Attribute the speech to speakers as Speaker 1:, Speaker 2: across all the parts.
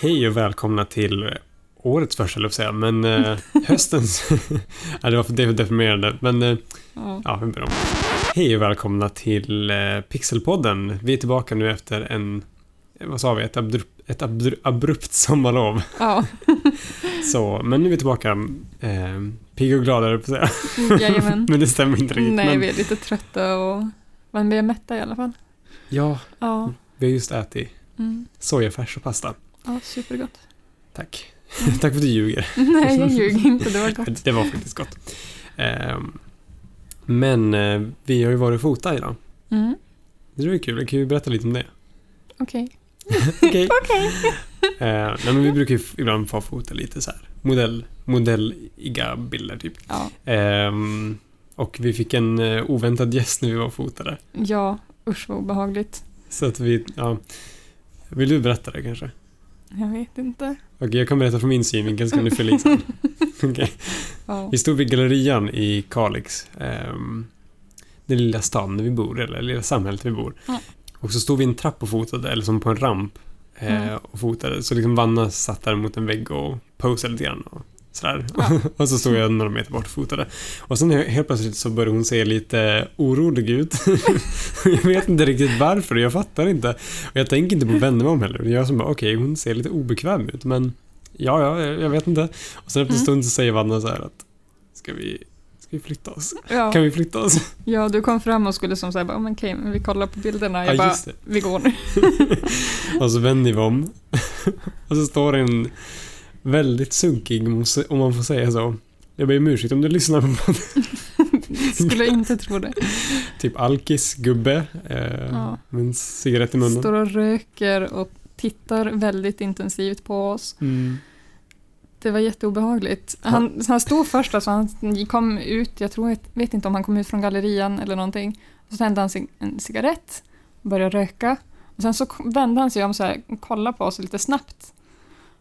Speaker 1: Hej och välkomna till årets första, höll jag på att säga, men eh, höstens... ja, det var för det var deprimerande, men eh,
Speaker 2: Ja.
Speaker 1: ja, vi börjar om. Hej och välkomna till eh, Pixelpodden. Vi är tillbaka nu efter en... eh, Vad sa vi? Ett, abrupt, ett abru- abrupt sommarlov.
Speaker 2: ja.
Speaker 1: Så, men nu är vi tillbaka eh, pigga och glada, höll jag på att säga.
Speaker 2: Jajamän.
Speaker 1: men det stämmer inte riktigt.
Speaker 2: Nej,
Speaker 1: men,
Speaker 2: vi är lite trötta och... Men vi är mätta i alla fall.
Speaker 1: Ja,
Speaker 2: Ja.
Speaker 1: vi har just ätit
Speaker 2: Mm.
Speaker 1: sojafärs och pasta.
Speaker 2: Ja, supergott.
Speaker 1: Tack. Tack för att du ljuger.
Speaker 2: Nej, jag ljuger inte. Det var gott.
Speaker 1: Det var faktiskt gott. Ehm, Men eh, vi har ju varit och fotat idag.
Speaker 2: Mm.
Speaker 1: Det var ju kul. Kan vi berätta lite om det?
Speaker 2: Okej.
Speaker 1: Okej. Eh, Nej, men vi brukar ju f- ibland få fota lite så här modell, modelliga bilder typ.
Speaker 2: Ja.
Speaker 1: Ehm, Och vi fick en eh, oväntad gäst när vi var och fotade.
Speaker 2: ja, usch vad obehagligt.
Speaker 1: Så att vi, ja. Vill du berätta det kanske?
Speaker 2: Jag vet inte.
Speaker 1: Okej, jag kan berätta från min synvinkel så kan du fylla i sen. Okej.
Speaker 2: Ja.
Speaker 1: Vi stod vid gallerian i Kalix. ehm, den lilla stan där vi bor, eller det lilla samhället vi bor.
Speaker 2: Ja.
Speaker 1: Och så stod vi i en trapp och fotade, eller som på en ramp. eh,
Speaker 2: Mm.
Speaker 1: Och fotade. Så liksom Vanna satt där mot en vägg och posade lite grann. Och sådär.
Speaker 2: Ja.
Speaker 1: och så stod jag några meter bort och fotade. Och sen he- helt plötsligt så började hon se lite orolig ut. jag vet inte riktigt varför, jag fattar inte. Och jag tänker inte på att vända mig om heller. Det är jag som bara, okej, hon ser lite obekväm ut, men ja, ja, jag jag vet inte. Och sen efter en
Speaker 2: Mm.
Speaker 1: stund så säger Vanna så här att, ska vi, ska vi flytta oss?
Speaker 2: Ja.
Speaker 1: Kan vi flytta oss?
Speaker 2: ja, du kom fram och skulle som säga, bara, "Ja, men okej, men vi kollar på bilderna. Jag
Speaker 1: Ja,
Speaker 2: bara,
Speaker 1: just det.
Speaker 2: vi går nu.
Speaker 1: Och så vänder vi om. och så står en väldigt sunkig, om man se- om man får säga så. Jag ber om ursäkt om du lyssnar på
Speaker 2: Skulle jag inte tro det.
Speaker 1: typ alkis gubbe eh,
Speaker 2: Ja.
Speaker 1: med en cigarett i munnen.
Speaker 2: Står och röker och tittar väldigt intensivt på oss.
Speaker 1: Mm.
Speaker 2: Det var jätteobehagligt. Han, han stod först, alltså, han kom ut, jag tror, jag vet inte om han kom ut från gallerian eller någonting. Och så tände han sig en cigarett, började röka. Och sen så kom- vände han sig om så här, och kollade på oss lite snabbt.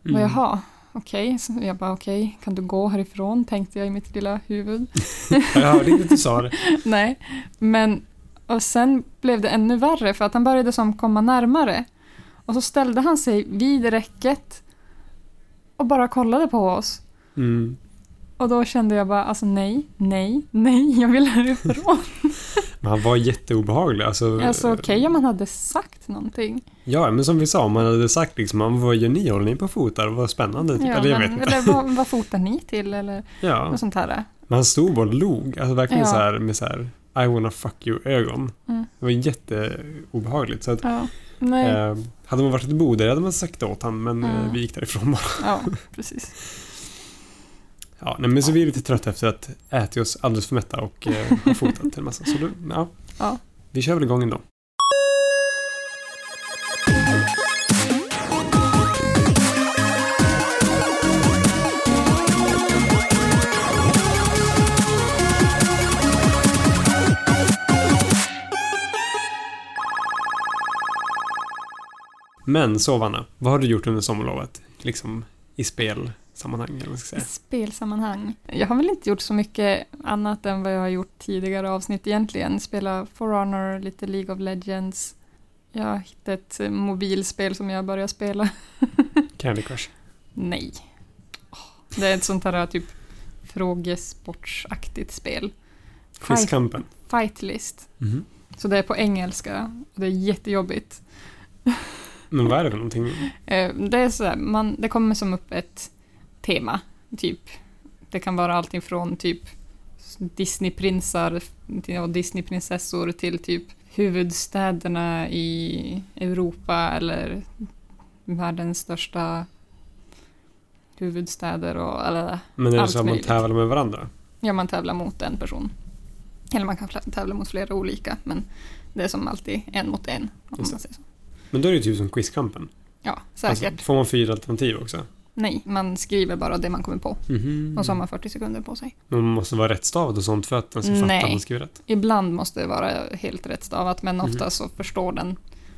Speaker 1: Mm.
Speaker 2: Och jaha, okej. Så jag bara okej, kan du gå härifrån? Tänkte jag i mitt lilla huvud.
Speaker 1: Mm. Ja, Jag hörde inte att du sa det.
Speaker 2: Nej, men och sen blev det ännu värre för att han började som komma närmare. Och så ställde han sig vid räcket och bara kollade på oss.
Speaker 1: Mm.
Speaker 2: Och då kände jag bara, alltså nej, nej, nej, jag vill härifrån.
Speaker 1: Men han var jätteobehaglig. Alltså,
Speaker 2: alltså okej om man hade sagt någonting.
Speaker 1: Ja, men som vi sa, om man hade sagt liksom, "Men vad gör ni? Håller ni på och fotar? Vad spännande. Typ.
Speaker 2: Ja,
Speaker 1: eller jag
Speaker 2: men-
Speaker 1: vet inte.
Speaker 2: eller vad, vad fotar ni till eller
Speaker 1: Ja.
Speaker 2: något sånt här.
Speaker 1: Men han stod bara och log. Alltså verkligen
Speaker 2: Ja.
Speaker 1: så här med så här I wanna fuck you-ögon.
Speaker 2: Mm.
Speaker 1: Det var jätteobehagligt. Så att,
Speaker 2: Ja, nej, ja. Mm.
Speaker 1: eh, hade man varit ett bodare hade man sagt det åt honom, men
Speaker 2: Ja.
Speaker 1: eh, vi gick därifrån bara.
Speaker 2: precis.
Speaker 1: Ja, nej, men så vi är lite trötta efter att ätit oss alldeles för mätta och eh, har fotat en massa. Så då, ja.
Speaker 2: Ja.
Speaker 1: Vi kör väl igång ändå. Men så Vanna, vad har du gjort under sommarlovet? Liksom i spelsammanhang eller vad man ska
Speaker 2: I
Speaker 1: säga.
Speaker 2: spelsammanhang. Jag har väl inte gjort så mycket annat än vad jag har gjort tidigare avsnitt egentligen. Spela For Honor, lite League of Legends. Jag hittade ett eh, mobilspel som jag började spela.
Speaker 1: Candy Crush.
Speaker 2: Nej. Åh, Det är ett sånt här typ frågesportsaktigt spel. Fight,
Speaker 1: Quizkampen.
Speaker 2: fightlist.
Speaker 1: Mhm.
Speaker 2: Så det är på engelska och det är jättejobbigt.
Speaker 1: Men vad är det för någonting?
Speaker 2: Eh, Det är så här, man, det kommer som upp ett tema, typ. Det kan vara allt ifrån typ Disneyprinsar till- och Disneyprinsessor till typ huvudstäderna i Europa eller världens största huvudstäder och alla
Speaker 1: Men är det
Speaker 2: Allt
Speaker 1: så att man
Speaker 2: möjligt.
Speaker 1: tävlar med varandra?
Speaker 2: Ja, man tävlar mot en person. Eller man kan fla- tävla mot flera olika, men det är som alltid en mot en. Om man
Speaker 1: Just det.
Speaker 2: säger så.
Speaker 1: Men då är det ju typ som Quizkampen.
Speaker 2: Ja, säkert.
Speaker 1: Alltså, får man fyra alternativ också?
Speaker 2: Nej, man skriver bara det man kommer på
Speaker 1: Mhm.
Speaker 2: och så har man 40 sekunder på sig.
Speaker 1: Men man måste vara rättstavad och sånt för att den ska fatta
Speaker 2: Nej.
Speaker 1: att man skriver rätt.
Speaker 2: Ibland måste det vara helt rätt stavat, men
Speaker 1: Mhm.
Speaker 2: ofta så förstår den om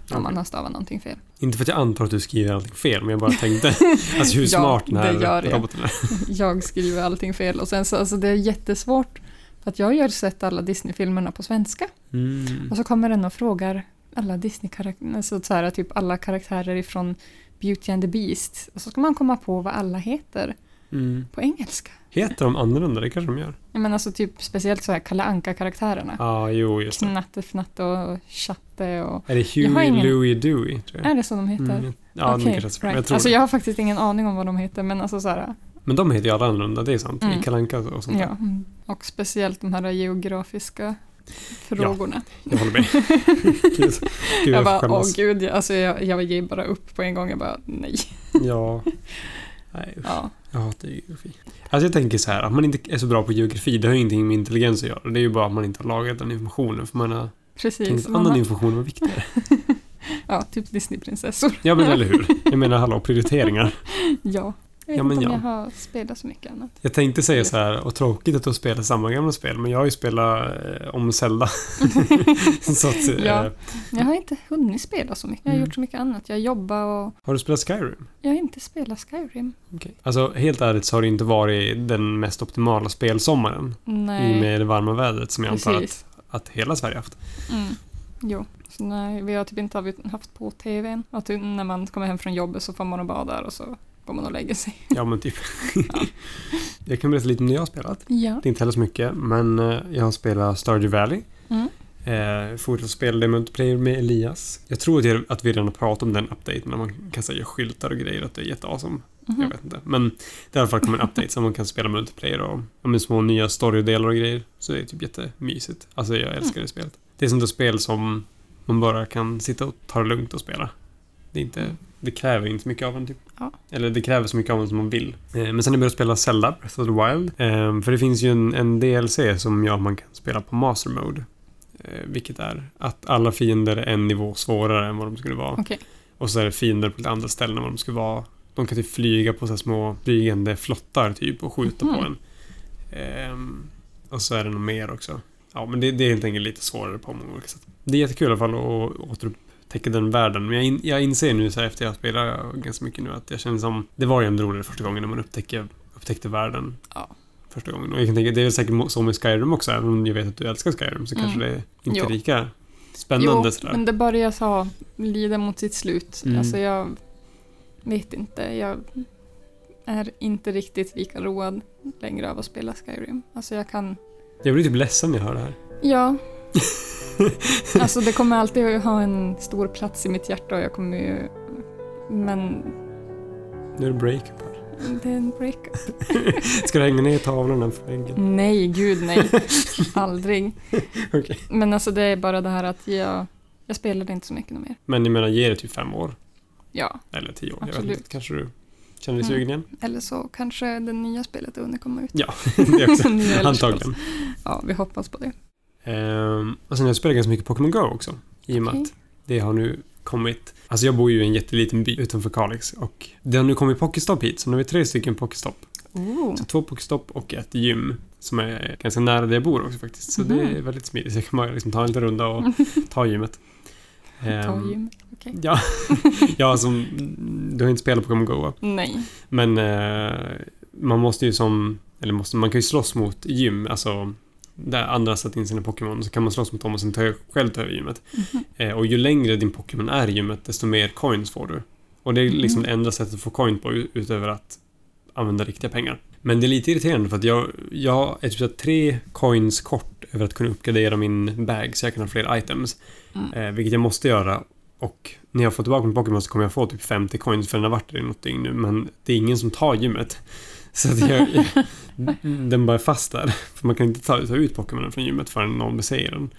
Speaker 2: man
Speaker 1: Okej.
Speaker 2: har stavat någonting fel.
Speaker 1: Inte för att jag antar att du skriver allting fel, men jag bara tänkte alltså hur
Speaker 2: Ja,
Speaker 1: smart den
Speaker 2: det gör
Speaker 1: här
Speaker 2: jag.
Speaker 1: roboten är.
Speaker 2: Jag skriver allting fel och sen så, alltså det är jättesvårt för att jag har ju sett alla Disney-filmerna på svenska
Speaker 1: Mm.
Speaker 2: och så kommer den och frågar alla Disney-karaktärer, alltså så här, typ alla karaktärer ifrån Beauty and the Beast. Och så ska man komma på vad alla heter
Speaker 1: Mm.
Speaker 2: på engelska.
Speaker 1: Heter de annorlunda? Det kanske de gör.
Speaker 2: Jag menar alltså typ speciellt så här Kalle Anka-karaktärerna.
Speaker 1: Ja, ah, jo, just det.
Speaker 2: Knatte, Fnatte och Chatte och...
Speaker 1: Är det
Speaker 2: Mm. Jag har
Speaker 1: Huey,
Speaker 2: ingen-
Speaker 1: Louie, Dewey? Tror jag.
Speaker 2: Är det så de heter?
Speaker 1: Mm. Ja, de
Speaker 2: Okej,
Speaker 1: kanske är så. Men Jag
Speaker 2: right.
Speaker 1: tror
Speaker 2: Alltså
Speaker 1: det.
Speaker 2: jag har faktiskt ingen aning om vad de heter men alltså så här,
Speaker 1: Men de heter ju alla annorlunda, det är sant.
Speaker 2: Mm.
Speaker 1: I Kalle Anka och sånt där.
Speaker 2: ja. mm. Och speciellt de här geografiska frågorna.
Speaker 1: Jag håller med. gud, gud,
Speaker 2: jag
Speaker 1: jag
Speaker 2: bara,
Speaker 1: får
Speaker 2: åh
Speaker 1: skämmas.
Speaker 2: gud, jag, alltså, jag, jag ger bara upp på en gång. Jag bara, nej.
Speaker 1: Ja. Nej, usch.
Speaker 2: Ja.
Speaker 1: Jag hatar geografi. Alltså jag tänker så här, att man inte är så bra på geografi, det har ju ingenting med intelligens att göra. Det är ju bara att man inte har lagrat den informationen, för man har
Speaker 2: Precis.
Speaker 1: tänkt
Speaker 2: Man
Speaker 1: annan
Speaker 2: har,
Speaker 1: information var viktigare.
Speaker 2: ja, typ Disneyprinsessor.
Speaker 1: Ja, men eller hur? Jag menar, hallå, prioriteringar.
Speaker 2: Ja. Jag vet
Speaker 1: Ja, men
Speaker 2: inte om
Speaker 1: ja.
Speaker 2: jag har spelat så mycket annat.
Speaker 1: Jag tänkte säga så här, och tråkigt att du spelar samma gamla spel, men jag har ju spelat eh, om Zelda. så att, eh,
Speaker 2: Ja. Jag har inte hunnit spela så mycket. Jag har
Speaker 1: Mm.
Speaker 2: gjort så mycket annat. Jag jobbar och
Speaker 1: Har du spelat Skyrim?
Speaker 2: jag har inte spelat Skyrim.
Speaker 1: Alltså, helt ärligt så har det inte varit den mest optimala spelsommaren. I
Speaker 2: Nej.
Speaker 1: och med det varma vädret som jag antar att,
Speaker 2: Precis.
Speaker 1: att hela Sverige haft.
Speaker 2: Mm. Jo. Så nej, vi har typ inte haft- haft på tvn. Att typ när man kommer hem från jobbet så får man och badar och så går man och lägger sig.
Speaker 1: Ja, men typ. jag kan berätta lite om det jag har spelat.
Speaker 2: Ja.
Speaker 1: Det är inte heller så mycket, men eh, jag har spelat Stardew Valley.
Speaker 2: Mm.
Speaker 1: Eh, fortsatt spela det multiplayer med Elias. Jag tror att, jag, att vi redan har pratat om den updaten när man kan säga skyltar och grejer att det är jätteawesome.
Speaker 2: Mhm.
Speaker 1: Jag vet inte. Men det har i alla fall kommit en update så man kan spela multiplayer och ja, men små nya storydelar och grejer. Så det är typ jättemysigt. Alltså jag älskar det spelet. Det är sånt där spel som man bara kan sitta och ta det lugnt och spela. Det, är inte, det kräver inte så mycket av en typ.
Speaker 2: Ja.
Speaker 1: Eller det kräver så mycket av en som man vill. Eh, Men sen har jag börjat spela Zelda, Breath of the Wild. Eh, För det finns ju en, en DLC som gör att man kan spela på Master Mode. Eh, Vilket är att alla fiender är en nivå svårare än vad de skulle vara.
Speaker 2: Okej.
Speaker 1: Och så är det fiender på lite andra ställen än vad de skulle vara. De kan typ flyga på så här små flygande flottar typ och skjuta
Speaker 2: Mhm.
Speaker 1: på en. Ehm, och så är det nog mer också. Ja, men det, det är helt enkelt lite svårare på många olika sätt. Det är jättekul i alla fall att återupptäcka den världen. Men jag, in, jag inser nu så här efter jag spelar ganska mycket nu att jag känner som... Det var ju ändå roligare första gången när man upptäckte, upptäckte världen.
Speaker 2: Ja.
Speaker 1: Första gången. Och jag kan tänka, det är säkert mo- så med Skyrim också. Även om jag vet att du älskar Skyrim så
Speaker 2: Mm.
Speaker 1: kanske det är inte
Speaker 2: Jo.
Speaker 1: är lika spännande
Speaker 2: jo,
Speaker 1: sådär.
Speaker 2: men det börjar så lida mot sitt slut.
Speaker 1: Mm.
Speaker 2: Alltså jag vet inte. Jag är inte riktigt lika road längre av att spela Skyrim. Alltså jag kan...
Speaker 1: Jag blir typ ledsen när jag hör det här.
Speaker 2: Ja. alltså det kommer alltid ha en stor plats i mitt hjärta och jag kommer ju... Men
Speaker 1: Nu är det breakup här.
Speaker 2: det är en breakup.
Speaker 1: Ska du hänga ner tavlorna på väggen?
Speaker 2: Nej, gud nej. Aldrig.
Speaker 1: Okej.
Speaker 2: Men alltså det är bara det här att jag, jag spelade inte så mycket mer.
Speaker 1: Men jag menar, ge det typ fem år.
Speaker 2: Ja,
Speaker 1: Eller tio år. Jag
Speaker 2: Absolut.
Speaker 1: vet inte, kanske du känner dig
Speaker 2: Mm.
Speaker 1: sugen igen?
Speaker 2: eller så kanske det nya spelet har hunnit komma ut.
Speaker 1: det också.
Speaker 2: Ni älskar
Speaker 1: Antagligen.
Speaker 2: Ja, vi hoppas på det.
Speaker 1: Ehm, och sen har jag spelat ganska mycket Pokémon Go också. I och med
Speaker 2: Okej.
Speaker 1: att det har nu kommit... Alltså jag bor ju i en jätteliten by utanför Kalix och det har nu kommit Pokéstop hit. Så nu har vi tre stycken Pokéstop.
Speaker 2: Oh.
Speaker 1: Så två Pokéstop och ett gym. Som är ganska nära där jag bor också faktiskt. Så det är
Speaker 2: Mhm.
Speaker 1: väldigt smidigt. Så jag kan bara liksom ta en liten runda och ta gymmet. Ehm,
Speaker 2: Torgym.
Speaker 1: Ja, ja som, du har inte spelat Pokémon Go va?
Speaker 2: Nej.
Speaker 1: Men eh, man måste ju som, eller måste, man kan ju slåss mot gym, alltså där andra har satt in sina Pokémon så kan man slåss mot dem och sen ta, själv ta över gymmet.
Speaker 2: Mhm.
Speaker 1: Eh, och ju längre din Pokémon är i gymmet desto mer coins får du. Och det är liksom
Speaker 2: Mhm.
Speaker 1: det enda sättet att få coin på ut- utöver att använda riktiga pengar. Men det är lite irriterande för att jag, jag är typ så här tre coins kort över att kunna uppgradera min bag så jag kan ha fler items.
Speaker 2: Mm.
Speaker 1: Eh, vilket jag måste göra. Och när jag får tillbaka min Pokémon så kommer jag få typ 50 coins för den har varit där i något dygn nu. Men det är ingen som tar gymmet. Så att jag, jag, den bara är fast där. För man kan inte ta, ta ut Pokémonen från gymmet förrän någon besegrar den.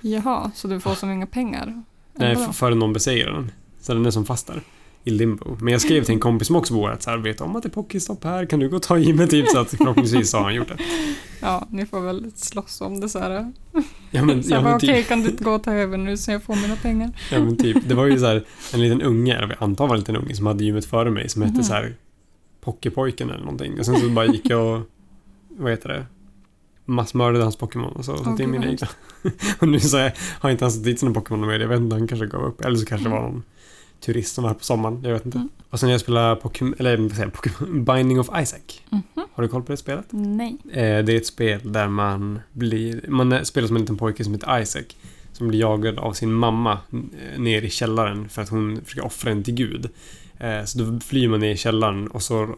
Speaker 2: Jaha, så du får som inga pengar?
Speaker 1: Nej,
Speaker 2: Ändå.
Speaker 1: Eh, f- förrän någon besegrar den. Så den är som fast där. I limbo. Men jag skrev till en kompis som också bor här, att så här, vet du om att det är Pokéstopp här? Kan du gå och ta gymmet? Typ, så att förhoppningsvis så har han gjort det.
Speaker 2: Ja, ni får väl slåss om det så här.
Speaker 1: Ja, men,
Speaker 2: så
Speaker 1: ja,
Speaker 2: jag
Speaker 1: men
Speaker 2: bara,
Speaker 1: typ.
Speaker 2: okej, kan du inte gå och ta över nu så jag får mina pengar?
Speaker 1: Ja men typ, det var ju så här en liten unge, eller jag antar var en liten unge som hade gymmet före mig som hette
Speaker 2: Mhm.
Speaker 1: så här Pockepojken eller någonting. Och sen så bara gick jag och, vad heter det, massmördade hans Pokémon och så
Speaker 2: Åh,
Speaker 1: oh, till
Speaker 2: gud,
Speaker 1: mina
Speaker 2: vad
Speaker 1: egna. och nu så är- har inte han satt dit sina Pokémon mer, jag vet inte, han kanske gav upp. Eller så kanske det var någon turist som var här på sommaren, jag vet inte.
Speaker 2: Mm.
Speaker 1: Och sen när jag spelade Pokémon, eller vad säger jag, Pokémon, Binding of Isaac.
Speaker 2: Mhm.
Speaker 1: Har du koll på det spelet?
Speaker 2: Nej.
Speaker 1: Eh, Det är ett spel där man blir... Man är- spelar som en liten pojke som heter Isaac. som blir jagad av sin mamma eh, ner i källaren för att hon försöker offra henne till Gud. Eh, Så då flyr man ner i källaren och så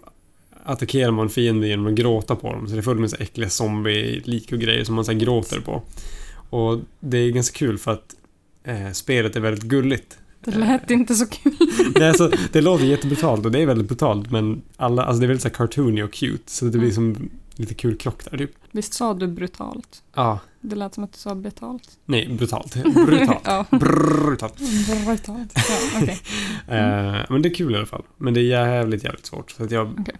Speaker 1: attackerar man fienden genom att gråta på dem. Så det är fullt med så här äckliga zombie-lik och grejer som man så här gråter på. Och det är ganska kul för att eh, spelet är väldigt gulligt.
Speaker 2: Det lät inte så kul.
Speaker 1: Det, är så, det låter jättebrutalt och det är väldigt brutalt men alla, alltså det är väldigt så här cartoony och cute så det blir som lite kul klock där typ.
Speaker 2: Visst sa du brutalt?
Speaker 1: Ja,
Speaker 2: Det lät som att du sa betalt.
Speaker 1: nej brutalt. Brutalt.
Speaker 2: ja.
Speaker 1: Brutalt.
Speaker 2: Brutalt. Ja, okej.
Speaker 1: Eh, men det är kul i alla fall. Men det är jävligt, jävligt svårt. Så att jag,
Speaker 2: Mm. Okej.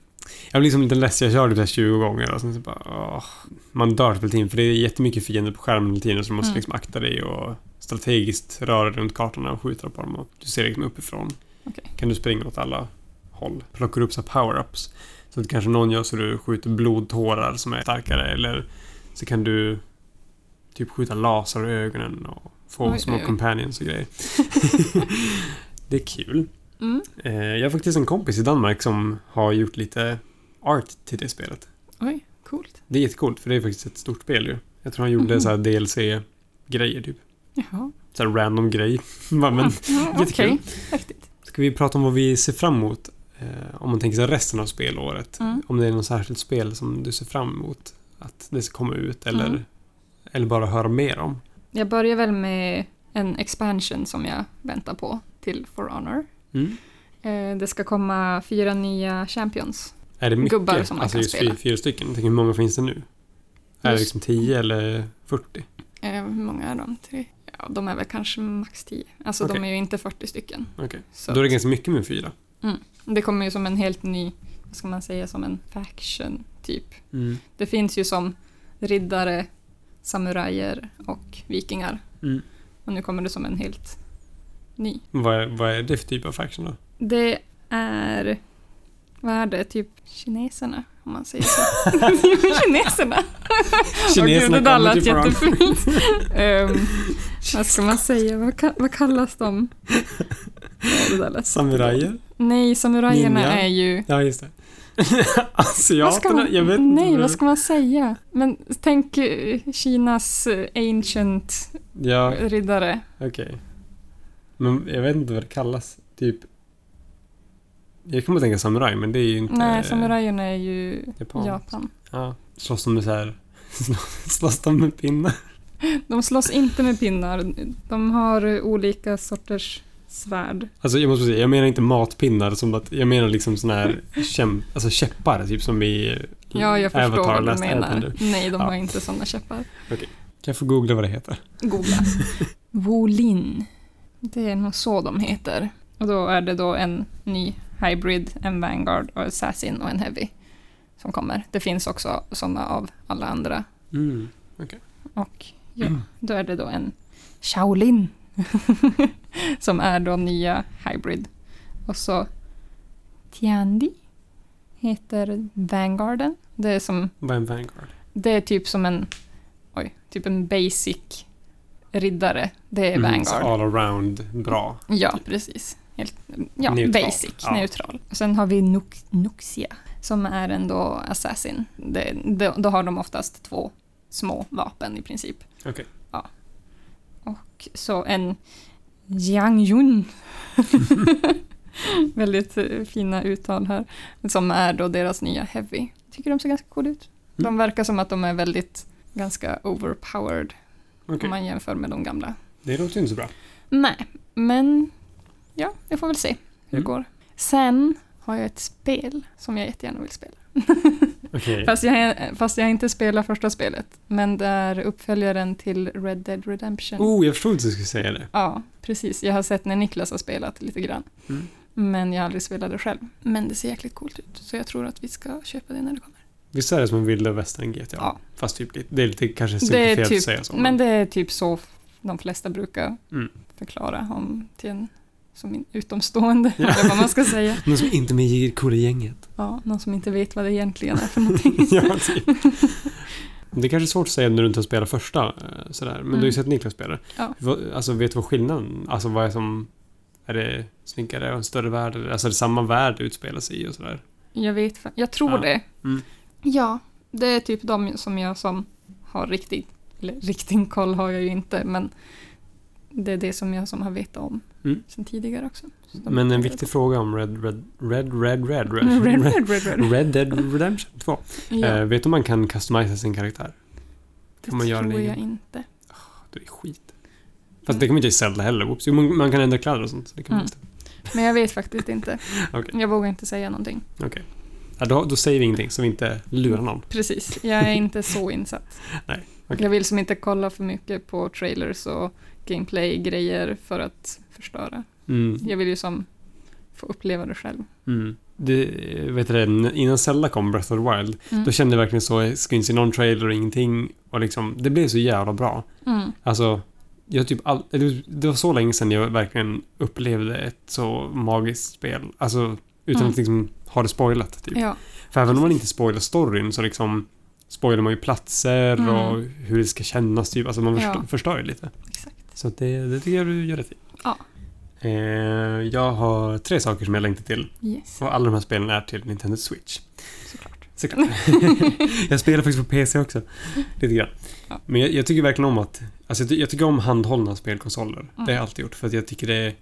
Speaker 1: jag blir liksom lite less, jag kör det där 20 gånger och sen så bara, åh, Man dör typ hela tiden för det är jättemycket fiender på skärmen hela tiden så du måste
Speaker 2: Mm.
Speaker 1: liksom akta dig och strategiskt röra dig runt kartorna och skjuta på dem och du ser liksom uppifrån.
Speaker 2: Okej.
Speaker 1: Kan du springa åt alla håll. Plockar upp så här power-ups. Så att kanske någon gör så du skjuter blodtårar som är starkare eller så kan du typ skjuta laser i ögonen och få
Speaker 2: Oj,
Speaker 1: små
Speaker 2: oj, oj.
Speaker 1: companions och grejer. det är kul.
Speaker 2: Mm.
Speaker 1: Eh, Jag har faktiskt en kompis i Danmark som har gjort lite art till det spelet.
Speaker 2: Oj, coolt.
Speaker 1: Det är jättecoolt för det är faktiskt ett stort spel ju. Jag tror han gjorde
Speaker 2: Mhm.
Speaker 1: så här DLC-grejer typ.
Speaker 2: Jaha.
Speaker 1: Så här random grej. Bara, Men
Speaker 2: Ja, Okej,
Speaker 1: jättekul.
Speaker 2: häftigt.
Speaker 1: ska vi prata om vad vi ser fram emot? eh, Om man tänker sig resten av spelåret.
Speaker 2: Mm.
Speaker 1: Om det är något särskilt spel som du ser fram emot att det ska komma ut eller,
Speaker 2: Mm.
Speaker 1: eller bara höra mer om.
Speaker 2: Jag börjar väl med en expansion som jag väntar på till For Honor.
Speaker 1: Mm.
Speaker 2: Eh, Det ska komma fyra nya champions.
Speaker 1: Är det mycket?
Speaker 2: Gubbar som man
Speaker 1: alltså
Speaker 2: kan
Speaker 1: just fy-
Speaker 2: spela.
Speaker 1: fyra stycken. Jag tänker, hur många finns det nu? Är det
Speaker 2: Just-
Speaker 1: liksom 10 eller 40?
Speaker 2: Eh, Hur många är de? Tre? Ja, de är väl kanske max tio. Alltså de
Speaker 1: Okej.
Speaker 2: är ju inte 40 stycken.
Speaker 1: Okej.
Speaker 2: Så
Speaker 1: Då är det
Speaker 2: att-
Speaker 1: ganska mycket med fyra.
Speaker 2: Det kommer ju som en helt ny, vad ska man säga, som en faction typ. Det finns ju som riddare, samurajer och vikingar.
Speaker 1: Mm.
Speaker 2: Och nu kommer det som en helt ny.
Speaker 1: Vad är, vad är det för typ av faction då?
Speaker 2: Det är, vad är det, typ kineserna om man säger så. kineserna! Åh gud, det där lät
Speaker 1: typ
Speaker 2: jättefult. Ehm, vad ska man säga, vad, ka- vad kallas de? Ja, det där lät-
Speaker 1: Samurajer?
Speaker 2: Nej, samurajerna
Speaker 1: Ninja.
Speaker 2: är ju
Speaker 1: Ja, just det.
Speaker 2: Vad ska
Speaker 1: Asiaterna?
Speaker 2: man,
Speaker 1: Jag vet
Speaker 2: nej,
Speaker 1: inte.
Speaker 2: vad ska man säga? Men tänk eh, Kinas eh, ancient
Speaker 1: Ja,
Speaker 2: riddare.
Speaker 1: okej. Men jag vet inte vad det kallas. Typ... Jag kommer att tänka samuraj, men det är ju inte...
Speaker 2: Nej, samurajerna är ju
Speaker 1: Japan. Ja.
Speaker 2: Japan.
Speaker 1: Slåss de med så här... Slåss de med pinnar?
Speaker 2: De slåss inte med pinnar. De har eh, olika sorters svärd.
Speaker 1: Alltså jag måste säga, jag menar inte matpinnar som att... Jag menar liksom sån här käm, alltså käppar, typ som i...
Speaker 2: Ja, jag förstår
Speaker 1: Mm. Avatar,
Speaker 2: vad
Speaker 1: Last
Speaker 2: du menar.
Speaker 1: Airbender.
Speaker 2: Nej, de
Speaker 1: Ja.
Speaker 2: har inte sådana käppar.
Speaker 1: Kan jag få googla vad det heter?
Speaker 2: Googla. Wolin. Det är nog så de heter. Och då är det då en ny hybrid, en vanguard, och assassin och en heavy som kommer. Det finns också sådana av alla andra
Speaker 1: Mm.
Speaker 2: Och ja, då är det då en Shaolin som är då nya hybrid. Och så Tiandi heter Vanguarden. Det är, som,
Speaker 1: Vad är en vanguard?
Speaker 2: det är typ som en, oj, typ en basic riddare. Det är
Speaker 1: Mm, så
Speaker 2: Vanguard.
Speaker 1: all around bra.
Speaker 2: Ja, precis. Helt, ja,
Speaker 1: Typ. Neutral.
Speaker 2: basic,
Speaker 1: Ja.
Speaker 2: neutral. Sen har vi Nux, Nuxia som är en då assassin. Det, då, då har de oftast två små vapen i princip.
Speaker 1: Okej.
Speaker 2: Ja. Och så en Jiang Yun. Väldigt eh, fina uttal här. Som är då deras nya Heavy. Tycker de ser ganska cool ut. De
Speaker 1: Mm.
Speaker 2: verkar som att de är väldigt, ganska overpowered
Speaker 1: Okej.
Speaker 2: om man jämför med de gamla.
Speaker 1: Det låter ju inte så bra.
Speaker 2: Nej, men ja, jag får väl se hur
Speaker 1: Mm.
Speaker 2: det går. Sen har jag ett spel som jag jättegärna vill spela.
Speaker 1: Okej.
Speaker 2: Fast jag, fast jag inte spelar första spelet, men det är uppföljaren till Red Dead Redemption.
Speaker 1: Oh, jag förstod inte att du skulle säga det.
Speaker 2: Ja, precis. Jag har sett när Niklas har spelat lite grann.
Speaker 1: Mm.
Speaker 2: Men jag har aldrig spelat det själv. Men det ser jäkligt coolt ut, så jag tror att vi ska köpa det när det kommer.
Speaker 1: Visst är det som en vilda västern GTA?
Speaker 2: Ja.
Speaker 1: Fast typ lite, det är lite kanske
Speaker 2: Det är
Speaker 1: simplifierat
Speaker 2: typ-
Speaker 1: att säga så.
Speaker 2: Men det är typ så de flesta brukar
Speaker 1: Mm.
Speaker 2: förklara om till en som en utomstående,
Speaker 1: Ja.
Speaker 2: eller vad man ska säga.
Speaker 1: Någon som inte är med i coola gänget.
Speaker 2: Ja, någon som inte vet vad det egentligen är för någonting.
Speaker 1: ja, typ. Det är kanske är svårt att säga när du inte har spelat första eh, sådär, men du har ju
Speaker 2: Mm.
Speaker 1: sett Niklas spela.
Speaker 2: Ja.
Speaker 1: Vad- Alltså vet du vad skillnaden, alltså vad är som, är det snyggare och en större värld, eller- alltså är det samma värld det utspelar sig i och sådär?
Speaker 2: Jag vet fa- jag tror
Speaker 1: Ja.
Speaker 2: det.
Speaker 1: Mm.
Speaker 2: Ja, det är typ de som jag som har riktigt, eller riktig koll har jag ju inte, men det är det som jag som har vetat om
Speaker 1: Mm.
Speaker 2: sen tidigare också. Så de-
Speaker 1: Men en viktig fråga om Red Red Red Red Red
Speaker 2: Red, red, red, red. red.
Speaker 1: Red Dead Redemption 2.
Speaker 2: Ja,
Speaker 1: Eh, vet du om man kan customisa sin karaktär?
Speaker 2: det
Speaker 1: kan man göra en
Speaker 2: tror jag
Speaker 1: egen?
Speaker 2: inte.
Speaker 1: Det är skit. Fast det kan man inte i Zelda heller. Whoops. Jo, man, man kan ändra kläder och sånt. Det kan man
Speaker 2: Mm.
Speaker 1: just.
Speaker 2: Men jag vet faktiskt inte.
Speaker 1: Okej.
Speaker 2: Jag vågar inte säga någonting.
Speaker 1: Ja, då, då säger vi ingenting så vi inte lurar någon.
Speaker 2: Precis, jag är inte så insatt.
Speaker 1: Nej, okej.
Speaker 2: Jag vill som inte kolla för mycket på trailers och gameplay-grejer för att förstöra.
Speaker 1: Mm.
Speaker 2: Jag vill ju som få uppleva det själv.
Speaker 1: Mm. Det, vet du det, innan Zelda kom, Breath of the Wild,
Speaker 2: Mm.
Speaker 1: då kände jag verkligen så, jag ska inte se någon trailer och ingenting. Och liksom, det blev så jävla bra.
Speaker 2: Mm.
Speaker 1: Alltså, jag typ all, eller det var så länge sedan jag verkligen upplevde ett så magiskt spel. Alltså, utan
Speaker 2: Mm.
Speaker 1: att liksom ha det spoilat. Typ.
Speaker 2: Ja,
Speaker 1: För även om man inte spoilar storyn så liksom spoilar man ju platser
Speaker 2: Mm.
Speaker 1: och hur det ska kännas. Typ. Alltså man förstör,
Speaker 2: Ja.
Speaker 1: förstör ju lite.
Speaker 2: exakt.
Speaker 1: Så att det, det tycker jag du gör rätt i.
Speaker 2: Ja.
Speaker 1: Eh, jag har tre saker som jag längtar till.
Speaker 2: Yes,
Speaker 1: Och alla de här spelen är till Nintendo Switch.
Speaker 2: såklart.
Speaker 1: Såklart. jag spelar faktiskt på PC också. Lite grann.
Speaker 2: Ja.
Speaker 1: Men jag, jag tycker verkligen om att... Alltså jag, ty- jag tycker om handhållna spelkonsoler. Det har jag
Speaker 2: Mm.
Speaker 1: alltid gjort. För att jag tycker det är...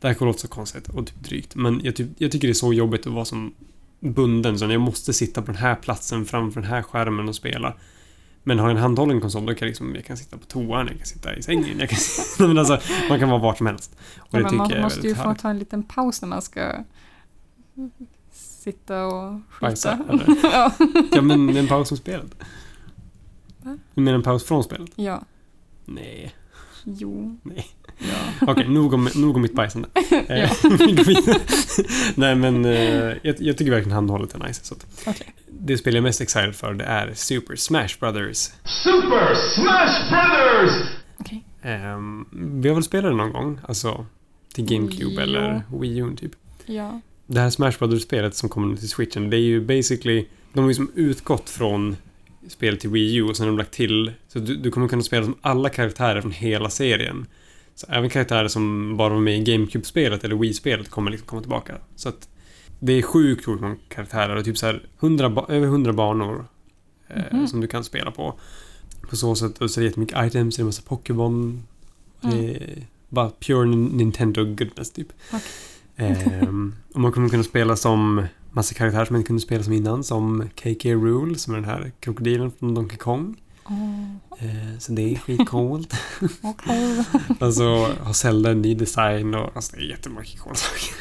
Speaker 1: Det här kommer låta så konstigt och typ drygt. Men jag, typ, jag tycker det är så jobbigt att vara som bunden. Så jag måste sitta på den här platsen framför den här skärmen och spela. Men har jag en handhållen konsol då kan jag, liksom, jag kan sitta på toan, jag kan sitta i sängen, jag kan sitta... Men alltså, man kan vara vart som helst. Och
Speaker 2: Ja,
Speaker 1: det
Speaker 2: men
Speaker 1: tycker jag
Speaker 2: man
Speaker 1: är
Speaker 2: måste ju
Speaker 1: väldigt
Speaker 2: få
Speaker 1: härligt.
Speaker 2: ta en liten paus när man ska sitta och
Speaker 1: Bajsa,
Speaker 2: skjuta.
Speaker 1: eller?
Speaker 2: ja.
Speaker 1: Ja, men en paus från spelet.
Speaker 2: Va?
Speaker 1: Du menar en paus från spelet?
Speaker 2: ja,
Speaker 1: Nej.
Speaker 2: jo.
Speaker 1: Nej.
Speaker 2: Ja.
Speaker 1: Okej, nog, om, nog om mitt bajsande. Eh,
Speaker 2: Ja.
Speaker 1: vi går vidare. Nej, men eh, jag, jag tycker verkligen handhållet är nice. Så att
Speaker 2: Okej.
Speaker 1: Det spel jag är mest excited för det är Super Smash Brothers.
Speaker 3: Super Smash Brothers!
Speaker 2: Okej.
Speaker 1: Ehm, vi har väl spelat det någon gång? Alltså till GameCube
Speaker 2: Jo.
Speaker 1: eller Wii U typ.
Speaker 2: Ja.
Speaker 1: Det här Smash Brothers-spelet som kommer nu till Switchen, det är ju basically... De har ju som utgått från spel till Wii U och sen har de lagt till... Så du, du kommer kunna spela som alla karaktärer från hela serien. Så även karaktärer som bara var med i GameCube-spelet eller Wii-spelet kommer liksom komma tillbaka. Så att det är sjukt roligt med karaktärer och typ så här 100, ba- över 100 banor eh,
Speaker 2: Mhm.
Speaker 1: som du kan spela på. På så sätt, och så är det jättemycket items, det är en massa Pokémon. Det är bara pure Nin- Nintendo goodness typ. Ehm, och man kommer kunna spela som massa karaktärer som man inte kunde spela som innan, som KK Rule, som är den här krokodilen från Donkey Kong.
Speaker 2: Åh,
Speaker 1: Eh, så det är skitcoolt.
Speaker 2: okej.
Speaker 1: och så har Zelda en ny design och alltså, det är jättemycket coola saker.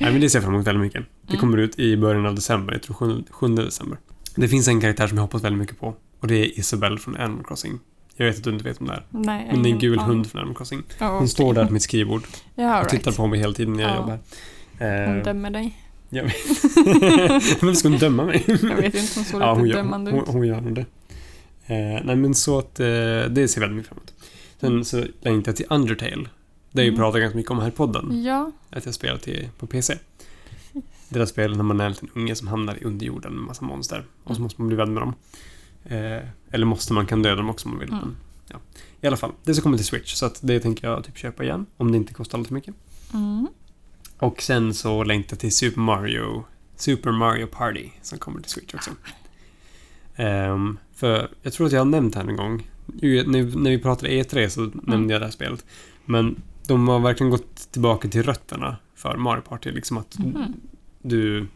Speaker 1: Nej, men det ser jag fram emot väldigt mycket. Det
Speaker 2: Mm.
Speaker 1: kommer ut i början av december, jag tror 7, 7 december. Det finns en karaktär som jag hoppas väldigt mycket på och det är Isabelle från Animal Crossing. Jag vet att du inte vet om det är.
Speaker 2: Nej, jag har
Speaker 1: Hon är en
Speaker 2: ingen
Speaker 1: gul
Speaker 2: aning.
Speaker 1: hund från Animal Crossing.
Speaker 2: Ja,
Speaker 1: Hon står där
Speaker 2: Mm. okej.
Speaker 1: på mitt skrivbord
Speaker 2: Ja,
Speaker 1: och
Speaker 2: right.
Speaker 1: tittar på mig hela tiden när jag
Speaker 2: Ja.
Speaker 1: jobbar.
Speaker 2: Hon
Speaker 1: Ehm,
Speaker 2: dömer dig.
Speaker 1: Jag vet. Varför ska hon döma mig?
Speaker 2: Jag vet inte, hon såg
Speaker 1: ja, hon,
Speaker 2: lite
Speaker 1: gör,
Speaker 2: dömande
Speaker 1: hon,
Speaker 2: ut.
Speaker 1: hon gör nog det. Eh, nej, men så att eh, det ser väldigt mycket fram emot. Sen så längtar jag till Undertale. Det har jag ju
Speaker 2: Mm.
Speaker 1: pratat ganska mycket om här i podden.
Speaker 2: Ja,
Speaker 1: Att jag spelar till, på PC. Det där spelet när man är en liten unge som hamnar i underjorden med massa monster. Och så
Speaker 2: Mm.
Speaker 1: måste man bli vän med dem. Eh, eller måste, man kan döda dem också om man vill.
Speaker 2: Mm.
Speaker 1: Men, ja. I alla fall, det ska komma till Switch. Så att det tänker jag typ köpa igen. Om det inte kostar alltför mycket.
Speaker 2: mm.
Speaker 1: Och sen så längtar till Super Mario, Super Mario Party som kommer till Switch också. Ehm, för jag tror att jag har nämnt här en gång. Ju, När, när vi pratade E3 så nämnde jag det här spelet. Men de har verkligen gått tillbaka till rötterna för Mario Party. Liksom att
Speaker 2: Mhm.
Speaker 1: du...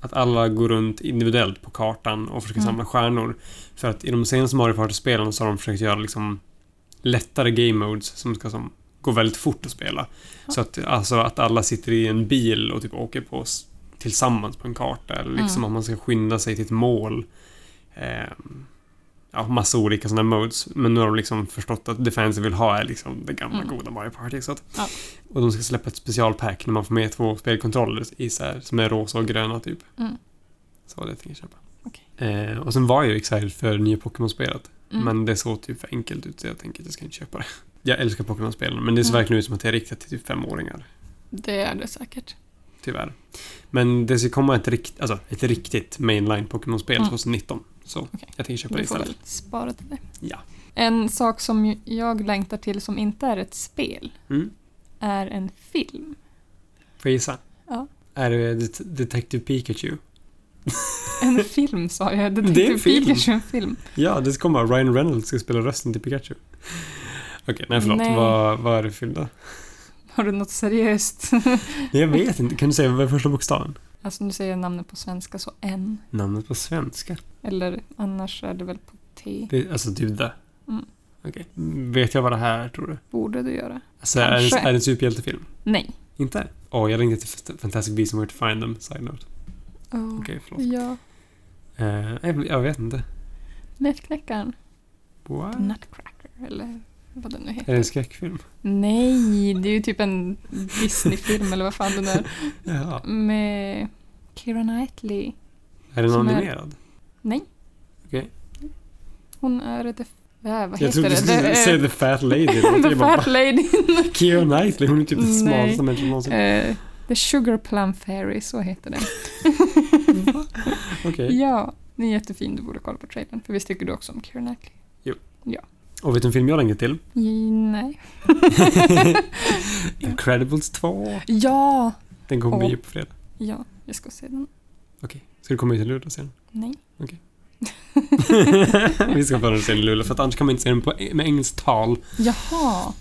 Speaker 1: Att alla går runt individuellt på kartan och försöker
Speaker 2: Mm.
Speaker 1: samla stjärnor. För att i de senaste Mario Party-spelen så har de försökt göra liksom lättare game modes som ska som gå väldigt fort att spela. Så att, alltså, att alla sitter i en bil och typ åker på s- tillsammans på en karta. Eller liksom
Speaker 2: Mm.
Speaker 1: att man ska skynda sig till ett mål. Ehm, ja, massa olika sådana modes. Men nu har de liksom förstått att det fansen vill ha är liksom det gamla
Speaker 2: Mm.
Speaker 1: goda Mario Party. Så att,
Speaker 2: Ja.
Speaker 1: Och de ska släppa ett specialpack när man får med två spelkontroller i så här, som är rosa och gröna typ.
Speaker 2: Mm.
Speaker 1: Så det tänker jag köpa.
Speaker 2: Okej.
Speaker 1: Eh, och sen var jag ju excited för nya Pokémon-spelet.
Speaker 2: Mm.
Speaker 1: Men det såg typ för enkelt ut så jag tänker att jag ska inte köpa det. Jag älskar Pokémon-spelen men det ser
Speaker 2: Mm.
Speaker 1: verkligen ut som att det är riktat till typ femåringar.
Speaker 2: Det är det säkert.
Speaker 1: Tyvärr. Men det ska komma ett, rikt, alltså, ett riktigt mainline Pokémon-spel
Speaker 2: Mm.
Speaker 1: 2019. Så jag tänker köpa det
Speaker 2: Du får
Speaker 1: istället.
Speaker 2: väl spara till det.
Speaker 1: Ja.
Speaker 2: En sak som ju- jag längtar till som inte är ett spel
Speaker 1: Mm.
Speaker 2: är en film.
Speaker 1: Får jag gissa?
Speaker 2: Ja.
Speaker 1: Är det Det- Detective Pikachu?
Speaker 2: En film sa jag,
Speaker 1: Det är en
Speaker 2: Detective
Speaker 1: film.
Speaker 2: Pikachu en film.
Speaker 1: Ja, det ska komma. Ryan Reynolds ska spela rösten till Pikachu. Okej, nej förlåt.
Speaker 2: Nej.
Speaker 1: Vad, vad är det fyllda?
Speaker 2: Har du något seriöst?
Speaker 1: Nej, jag vet inte. Kan du säga vad är första bokstaven?
Speaker 2: alltså om du säger namnet på svenska så N.
Speaker 1: Namnet på svenska?
Speaker 2: Eller annars är det väl på T.
Speaker 1: Det, alltså Duda?
Speaker 2: Mm.
Speaker 1: Okej. Vet jag vad det här är, tror du?
Speaker 2: Borde du göra?
Speaker 1: Alltså, är det,
Speaker 2: Kanske.
Speaker 1: är det en superhjältefilm?
Speaker 2: Nej.
Speaker 1: Inte? Åh, jag ringde till Fant- Fantastic Beasts and Where to Find Them, side note.
Speaker 2: Oh.
Speaker 1: Okej, förlåt.
Speaker 2: Ja.
Speaker 1: Eh, jag, jag vet inte.
Speaker 2: Nötknäckaren.
Speaker 1: What?
Speaker 2: The Nutcracker eller vad den nu
Speaker 1: Är
Speaker 2: heter.
Speaker 1: det en skräckfilm?
Speaker 2: Nej, det är ju typ en Disney-film eller vad fan den är.
Speaker 1: Ja.
Speaker 2: Med Keira Knightley.
Speaker 1: Är den
Speaker 2: Som är-
Speaker 1: animerad?
Speaker 2: Nej.
Speaker 1: Okej.
Speaker 2: Hon är det... Äh, vad
Speaker 1: Jag
Speaker 2: heter
Speaker 1: trodde du
Speaker 2: det?
Speaker 1: skulle
Speaker 2: det?
Speaker 1: säga The Fat Lady.
Speaker 2: The,
Speaker 1: the
Speaker 2: the
Speaker 1: jag bara,
Speaker 2: Fat Lady.
Speaker 1: Keira Knightley, hon är typ den
Speaker 2: Nej.
Speaker 1: smalaste människan någonsin.
Speaker 2: Eh, the Sugar Plum Fairy, så heter den.
Speaker 1: Okej.
Speaker 2: Ja, den är jättefin. Du borde kolla på trailern. För visst tycker du också om Keira Knightley?
Speaker 1: Och vet du en film jag ringer till?
Speaker 2: I- Nej.
Speaker 1: Incredibles 2.
Speaker 2: Ja!
Speaker 1: Den kommer
Speaker 2: Åh.
Speaker 1: ju på fredag.
Speaker 2: Ja, jag ska se den.
Speaker 1: Okej. Ska du komma hit till Luleå sen?
Speaker 2: Nej.
Speaker 1: Vi ska föra den till Luleå, för att annars kan man inte se den på, med engelskt tal.
Speaker 2: Jaha!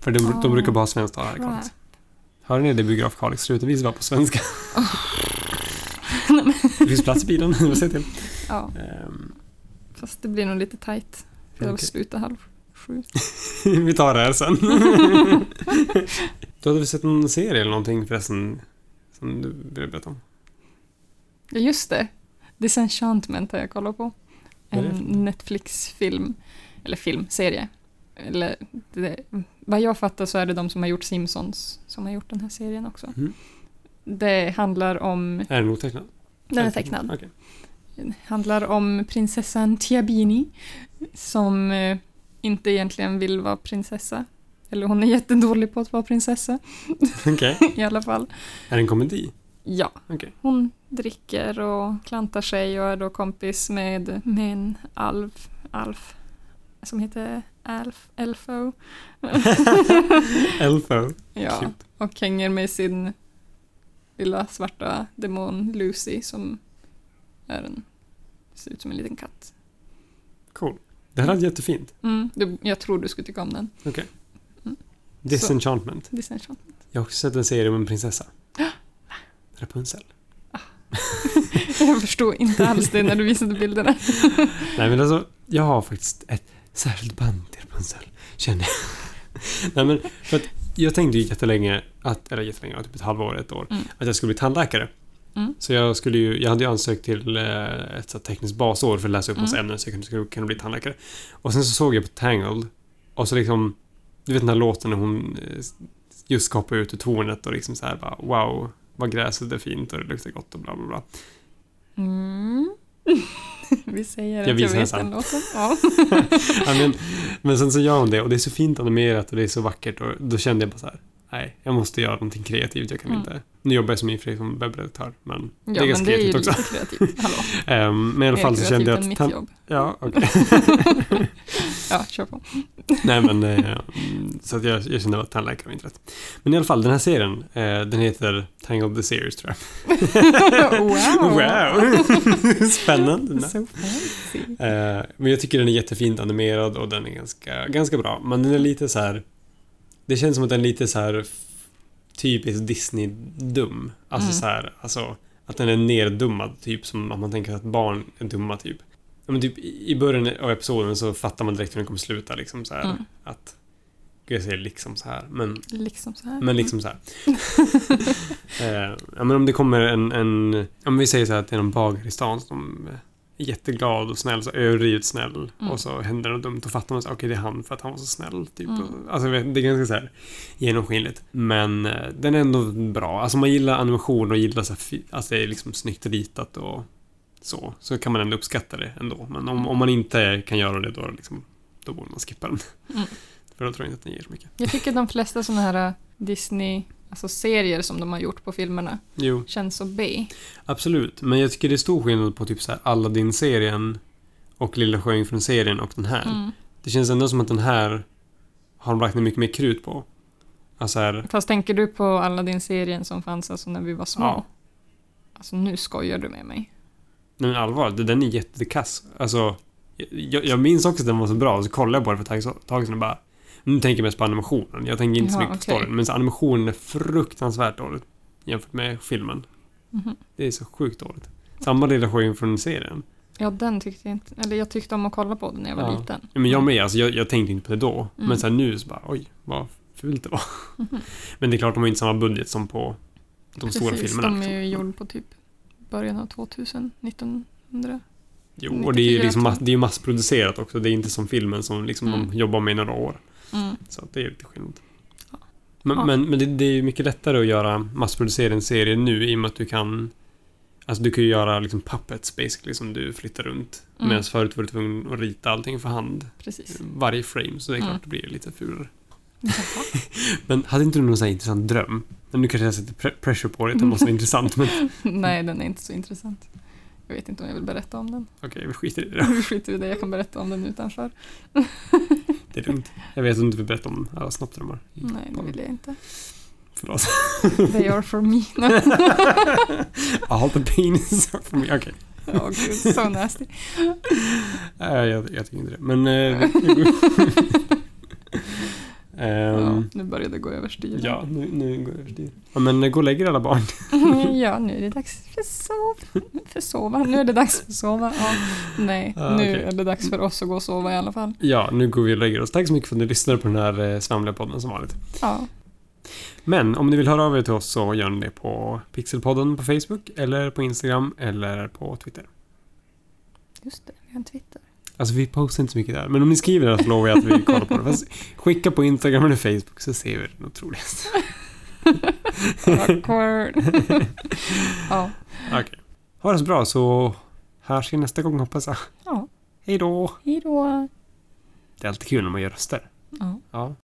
Speaker 1: För de, de
Speaker 2: Ah,
Speaker 1: brukar bara ha svenskt tal här i
Speaker 2: crap.
Speaker 1: Kalix. Hörde ni det biograf Kalix? Sluta visa bara på svenska. det finns plats i bilen, jag säger till.
Speaker 2: Ja,
Speaker 1: Ehm,
Speaker 2: fast det blir nog lite tajt. För de
Speaker 1: okej.
Speaker 2: slutar halv sju.
Speaker 1: Vi tar det här sen. du hade väl sett en serie eller någonting förresten? Som du ville berätta om?
Speaker 2: Ja, just det. Disenchantment har jag kollat på.
Speaker 1: Vad är det
Speaker 2: En
Speaker 1: för någonting?
Speaker 2: Netflix-film. Eller filmserie. Eller, det, vad jag fattar så är det de som har gjort Simpsons som har gjort den här serien också.
Speaker 1: Mhm.
Speaker 2: Det handlar om...
Speaker 1: Är den otecknad?
Speaker 2: Den är tecknad.
Speaker 1: Okej.
Speaker 2: handlar om prinsessan Tiabini som eh, inte egentligen vill vara prinsessa. Eller hon är jättedålig på att vara prinsessa
Speaker 1: Okej.
Speaker 2: i alla fall.
Speaker 1: Är det en komedi?
Speaker 2: Ja,
Speaker 1: Okej.
Speaker 2: hon dricker och klantar sig och är då kompis med, med en alv, alf som heter Alf, Elfo.
Speaker 1: Elfo.
Speaker 2: ja,
Speaker 1: Cute.
Speaker 2: och hänger med sin lilla svarta demon Lucy som är en, ser ut som en liten katt.
Speaker 1: Cool. Det här är jättefint.
Speaker 2: Mm, du, jag tror du skulle tycka om den.
Speaker 1: Disenchantment.
Speaker 2: Disenchant.
Speaker 1: Jag har också sett en serie om en prinsessa. Rapunzel.
Speaker 2: Jag förstod inte alls det när du visade bilderna.
Speaker 1: Nej men alltså, jag har faktiskt ett särskilt band till Rapunzel, känner jag. Nej men, för att jag tänkte ju jättelänge, att, eller jättelänge, ja, typ ett halvår, ett år,
Speaker 2: Mm.
Speaker 1: att jag skulle bli tandläkare.
Speaker 2: Mm.
Speaker 1: Så jag, skulle ju, jag hade ju ansökt till eh, ett så här tekniskt basår för att läsa upp massa
Speaker 2: Mm.
Speaker 1: ämnen så jag kunde, skulle kunna bli tandläkare. Och sen så såg jag på Tangled och så liksom, du vet den här låten när hon eh, just ska hoppa ut ur tornet och liksom så här bara wow, vad gräset är fint och det luktar gott och bla bla bla.
Speaker 2: Mm. Vi säger
Speaker 1: Jag
Speaker 2: att jag
Speaker 1: visar den
Speaker 2: vet
Speaker 1: sen.
Speaker 2: den låten. Ja.
Speaker 1: ja, men, men sen så gör hon det och det är så fint animerat och det är så vackert och då kände jag bara så här. Nej, jag måste göra någonting kreativt. Jag kan
Speaker 2: Mm.
Speaker 1: inte. Nu jobbar jag som i och för sig som webbredaktör, men
Speaker 2: Ja,
Speaker 1: det är ganska
Speaker 2: men det är ju
Speaker 1: kreativt också.
Speaker 2: lite kreativt. Hallå,
Speaker 1: Ehm, men i alla
Speaker 2: mer
Speaker 1: fall så kände jag
Speaker 2: än
Speaker 1: att...
Speaker 2: mitt
Speaker 1: Tan-
Speaker 2: jobb.
Speaker 1: ja, okej.
Speaker 2: Ja, kör på.
Speaker 1: Nej, men... eh, mm, så att jag, jag kände att tandläkare var inte rätt. Men i alla fall, den här serien, eh, den heter Tangled the Series, tror jag.
Speaker 2: Wow.
Speaker 1: wow. Spännande.
Speaker 2: So fancy.
Speaker 1: Eh, men jag tycker den är jättefint animerad och den är ganska, ganska bra. Men den är lite så här. Det känns som att den är lite så här f- typiskt Disney-dum. Alltså
Speaker 2: Mm.
Speaker 1: så här, alltså att den är nerdummad, typ som att man tänker att barn är dumma, typ. Ja, men typ i i början av episoden så fattar man direkt hur den kommer sluta, liksom så här
Speaker 2: Mm.
Speaker 1: att... Gud, jag säger liksom så här, men
Speaker 2: Liksom så här.
Speaker 1: men liksom så här. eh, ja, men om det kommer en, en... Om vi säger så här att det är någon bagare i stan som är jätteglad och snäll, så överdrivet snäll.
Speaker 2: Mm.
Speaker 1: Och så händer det något dumt och fattar man så här, okej det är han för att han var så snäll. Typ.
Speaker 2: Mm.
Speaker 1: Alltså jag vet, det är ganska så här genomskinligt. Men eh, den är ändå bra. Alltså om man gillar animation och gillar så här, fi- alltså det är liksom snyggt ritat och så. Så kan man ändå uppskatta det ändå. Men om, om man inte kan göra det då, liksom, då borde man skippa den.
Speaker 2: Mm.
Speaker 1: För då tror jag inte att den ger så mycket.
Speaker 2: Jag tycker de flesta såna här äh, Disney, alltså serier som de har gjort på filmerna,
Speaker 1: Jo.
Speaker 2: känns så B.
Speaker 1: Absolut, men jag tycker det är stor skillnad på typ så här Aladdin-serien och Lilla Sjöjungfrun-serien och den här.
Speaker 2: Mm.
Speaker 1: Det känns ändå som att den här har de lagt ner mycket mer krut på. Alltså här,
Speaker 2: Fast tänker du på alla din serien som fanns alltså när vi var små?
Speaker 1: Ja.
Speaker 2: Alltså nu skojar du med mig.
Speaker 1: nej men allvar, det- den är jättekass. Alltså, jag, jag minns också att den var så bra och så kollade jag på den för ett tag- tag sedan och bara Nu tänker jag mest på animationen. Jag tänker inte så
Speaker 2: Jaha,
Speaker 1: mycket på
Speaker 2: okej.
Speaker 1: storyn. Men så animationen är fruktansvärt dåligt jämfört med filmen.
Speaker 2: Mhm.
Speaker 1: Det är så sjukt dåligt. Samma relation från serien.
Speaker 2: Ja, den tyckte jag inte... Eller jag tyckte om att kolla på den när jag var
Speaker 1: Ja.
Speaker 2: liten.
Speaker 1: Men jag med, alltså, jag, jag tänkte inte på det då.
Speaker 2: Mm.
Speaker 1: Men sen nu så bara, oj, vad fult det var. Men det är klart, de har ju inte samma budget som på de stora filmerna.
Speaker 2: de är
Speaker 1: liksom.
Speaker 2: ju gjorda på typ början av 2000, 1900.
Speaker 1: Jo, och det är ju
Speaker 2: 94
Speaker 1: liksom mass,
Speaker 2: tror jag.
Speaker 1: det är ju massproducerat också. Det är inte som filmen som liksom
Speaker 2: Mm.
Speaker 1: de jobbar med i några år.
Speaker 2: Mm.
Speaker 1: Så att det är lite skillnad. Men,
Speaker 2: Ja.
Speaker 1: men, men det, det är ju mycket lättare att göra massproducerad serie nu i och med att du kan... Alltså du kan ju göra liksom puppets basically som du flyttar runt.
Speaker 2: Mm.
Speaker 1: Medan förut var du tvungen att rita allting för hand.
Speaker 2: Precis.
Speaker 1: Varje frame, så det är klart
Speaker 2: Mm.
Speaker 1: det blir lite fulare.
Speaker 2: Jaha.
Speaker 1: Men hade inte du någon sån här intressant dröm? Men nu kanske jag sätter pre- pressure på dig att det måste vara intressant, men okej,
Speaker 2: Nej, den är inte så intressant. Jag vet inte om jag vill berätta om den.
Speaker 1: vi skiter i det då.
Speaker 2: Vi skiter i det, jag kan berätta om den utanför.
Speaker 1: Det är lugnt. Jag vet att du inte vill berätta om alla snoppdrömmar.
Speaker 2: Nej, det vill jag inte.
Speaker 1: Förlåt. Mm.
Speaker 2: They are for me.
Speaker 1: All the penis are for me. Okej.
Speaker 2: Åh gud, so nasty.
Speaker 1: Nej, jag, jag tycker inte det. Men... Eh,
Speaker 2: Ja,
Speaker 1: Ehm,
Speaker 2: nu börjar det gå överstyr.
Speaker 1: ja, nu, nu går det överstyr. Ja, men eh, gå och lägg er alla barn.
Speaker 2: ja, nu är det dags för sov. För sova. Nu är det dags för sova. Ja. Nej,
Speaker 1: Ah,
Speaker 2: nu
Speaker 1: okej.
Speaker 2: är det dags för oss att gå och sova i alla fall.
Speaker 1: Ja, nu går vi och lägger oss. Tack så mycket för att ni lyssnade på den här eh, svamliga podden som vanligt.
Speaker 2: Ja,
Speaker 1: Men om ni vill höra av er till oss så gör ni det på Pixelpodden på Facebook eller på Instagram eller på Twitter.
Speaker 2: just det. Vi har en Twitter.
Speaker 1: Alltså vi postar inte så mycket där, men om ni skriver där så lovar jag att vi kollar på det. Fast skicka på Instagram eller Facebook så ser vi det nog troligast.
Speaker 2: Awkward. ja.
Speaker 1: Okej. Ha det så bra så hörs vi nästa gång hoppas jag.
Speaker 2: ja,
Speaker 1: Hej då!
Speaker 2: hej då.
Speaker 1: Det är alltid kul när man gör röster.
Speaker 2: Ja.
Speaker 1: Ja.